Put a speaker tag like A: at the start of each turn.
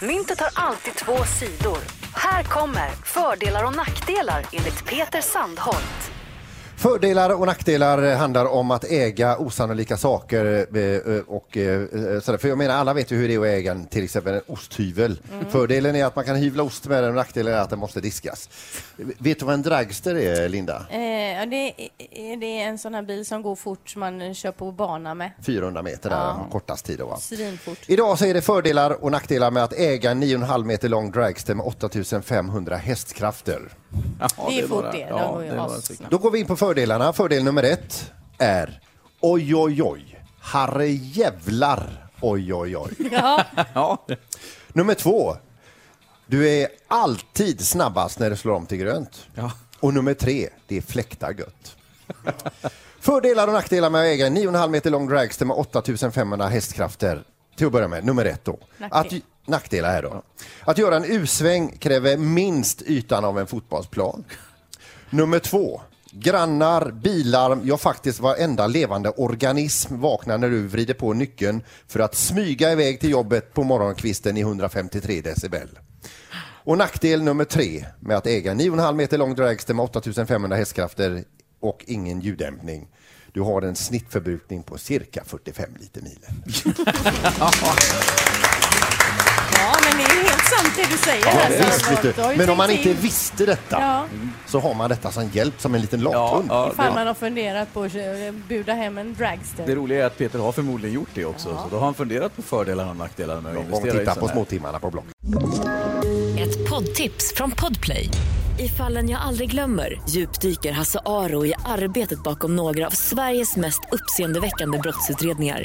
A: Myntet har alltid två sidor. Här kommer fördelar och nackdelar enligt Peter Sandholt.
B: Fördelar och nackdelar handlar om att äga osannolika saker. eh, Och, eh, sådär. för jag menar, alla vet ju hur det är att äga en, till exempel en osthyvel. Fördelen är att man kan hyvla ost med den och nackdelen är att den måste diskas. Vet du vad en dragster är, Linda?
C: Eh, ja, det, är, det är en sån här bil som går fort som man eh, kör på bana med.
B: 400 meter där, kortast tid. då, Va?
C: Svinfort.
B: Idag så är det fördelar och nackdelar med att äga en 9,5 meter lång dragster med 8500 hästkrafter.
D: Ja,
C: Det är fort
D: några-
C: det.
D: ja,
C: De går ju
D: det är några
C: as-
D: stycken.
B: Då går vi in på fördelarna. Fördel nummer ett är oj, oj, oj. Herre jävlar, oj, oj, oj.
D: Ja.
B: Nummer två. Du är alltid snabbast när du slår om till grönt.
D: Ja.
B: Och nummer tre, det är fläktar gött. Fördelar och nackdelar med att äga en 9,5 meter lång dragster med 8500 hästkrafter. Till att börja med, nummer ett då.
C: Nackdel.
B: Att, nackdelar här då. Att göra en U-sväng kräver minst ytan av en fotbollsplan. Nummer två. Grannar, bilar, ja faktiskt varenda levande organism vaknar när du vrider på nyckeln för att smyga iväg till jobbet på morgonkvisten i 153 decibel. Och nackdel nummer tre med att äga en 9,5 meter lång dragster med 8500 hästkrafter och ingen ljuddämpning. Du har en snittförbrukning på cirka 45 liter milen.
C: Ja, men det är ju helt sant det du säger. här,
B: Visst,
C: Sandholt.
B: vet du.
C: Du har ju
B: Men om
C: tänkt
B: man
C: in
B: inte visste detta
C: Ja.
B: så har man detta som hjälp, som en liten
D: Ja,
B: lathund.
D: ja,
C: Ifall
D: det,
C: man har funderat på att eh, buda hem en dragster.
D: det roliga är att Peter har förmodligen gjort det också. Så då har han funderat på fördelarna och nackdelarna med att
B: Någon gång
D: investera i
B: titta
D: sån
B: på
D: här.
B: småtimmarna på Blocket.
E: Ett poddtips från Podplay. I fallen jag aldrig glömmer djupdyker Hasse Aro i arbetet bakom några av Sveriges mest uppseendeväckande brottsutredningar.